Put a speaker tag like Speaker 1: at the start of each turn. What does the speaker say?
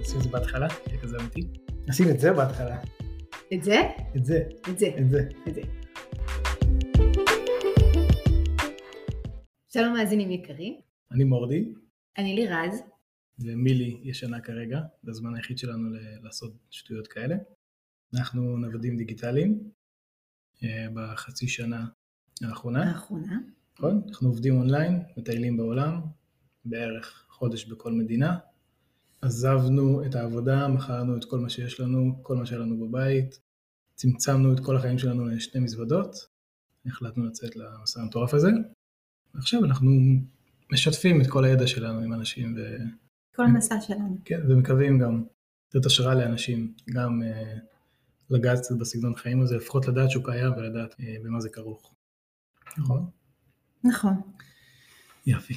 Speaker 1: נשים את זה בהתחלה, זה כזה אמיתי.
Speaker 2: נשים את זה בהתחלה.
Speaker 3: את זה?
Speaker 2: את זה,
Speaker 3: את זה.
Speaker 1: כן.
Speaker 2: את זה.
Speaker 3: את זה. שלום מאזינים יקרים,
Speaker 1: אני מורדי,
Speaker 3: אני לירז,
Speaker 1: ומילי ישנה כרגע, זה הזמן היחיד שלנו ל- לעשות שטויות כאלה. אנחנו נוודים דיגיטליים אה, בחצי שנה האחרונה,
Speaker 3: האחרונה.
Speaker 1: נכון? אנחנו עובדים אונליין, מטיילים בעולם, בערך חודש בכל מדינה. עזבנו את העבודה, מכרנו את כל מה שיש לנו, כל מה שהיה לנו בבית, צמצמנו את כל החיים שלנו לשתי מזוודות, החלטנו לצאת למסע המטורף הזה, ועכשיו אנחנו משתפים את כל הידע שלנו עם אנשים ו...
Speaker 3: כל המסע שלנו.
Speaker 1: כן, ומקווים גם לתת השראה לאנשים, גם אה, לגעת קצת בסגנון חיים הזה, לפחות לדעת שהוא קיים ולדעת אה, במה זה כרוך. נכון?
Speaker 3: נכון.
Speaker 1: יפי.